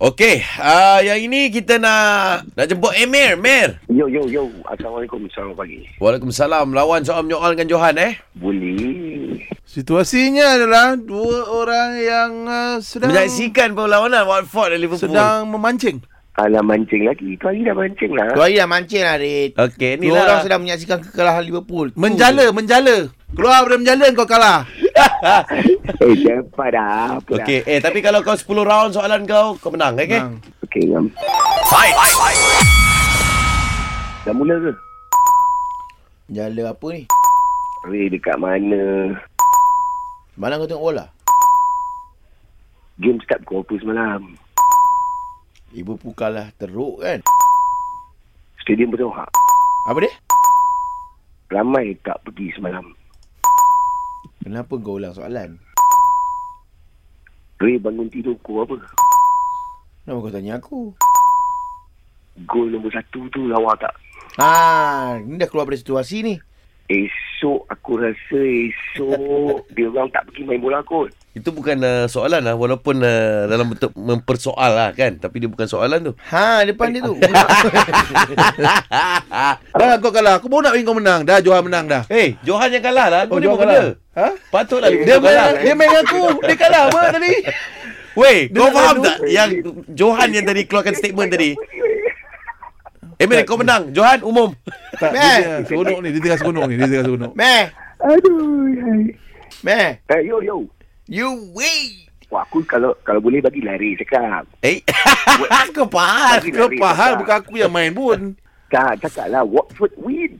Okey, uh, yang ini kita nak nak jemput Emir, Mer. Yo yo yo, Assalamualaikum Selamat pagi Waalaikumsalam. Lawan soal menyoal dengan Johan eh. Boleh Situasinya adalah dua orang yang uh, sedang Menyaksikan perlawanan Watford dan Liverpool. sedang memancing. Alah mancing lagi Tu hari dah mancing lah Dua hari dah mancing lah Rit Okey, Dua orang inilah. sedang menyaksikan kekalahan Liverpool Tu. Menjala, menjala. Keluar daripada menjala kau kalah. Eh cepat dah apa Okey, eh tapi kalau kau 10 round soalan kau, kau menang, eh, Eh, kan? okey? Menang. dah? Okey ngam Dah mula ke? Jala apa ni Weh dekat mana Malam kau tengok bola Game start pukul apa semalam Ibu pukal lah teruk kan Stadium bersorak Apa dia Ramai tak pergi semalam Kenapa kau ulang soalan Ray bangun tidur pukul apa Kenapa kau tanya aku Gol nombor satu tu lawa tak Ha, ni dah keluar dari situasi ni. Esok aku rasa esok Dia orang tak pergi main bola kot Itu bukan uh, soalan lah walaupun uh, dalam bentuk mempersoal lah kan, tapi dia bukan soalan tu. Ha, depan dia tu. Dah Ha, kau kalah. Aku baru nak ingin kau menang. Dah Johan menang dah. Eh, Hey, Johan yang kalah lah. Aku Oh, ni Johan bukan kalah. dia. Ha? Patutlah dia, Dia kalah. main, dia main dengan aku. Dia kalah apa tadi? Weh, Dia Eh, kau nak faham main tak yang Johan yang tadi keluarkan statement tadi? Emir, kau menang. Johan, umum. Tak, dia Man. tengah seronok ni. Dia tengah seronok ni. Dia tengah seronok. Meh, Aduh hai. meh. Eh yo yo You wait. Wah, aku kalau kalau boleh bagi lari cakap Eh, kau faham. Lari, Kau lari, faham cakap. bukan aku yang main pun. Tak, cakap lah Watford win.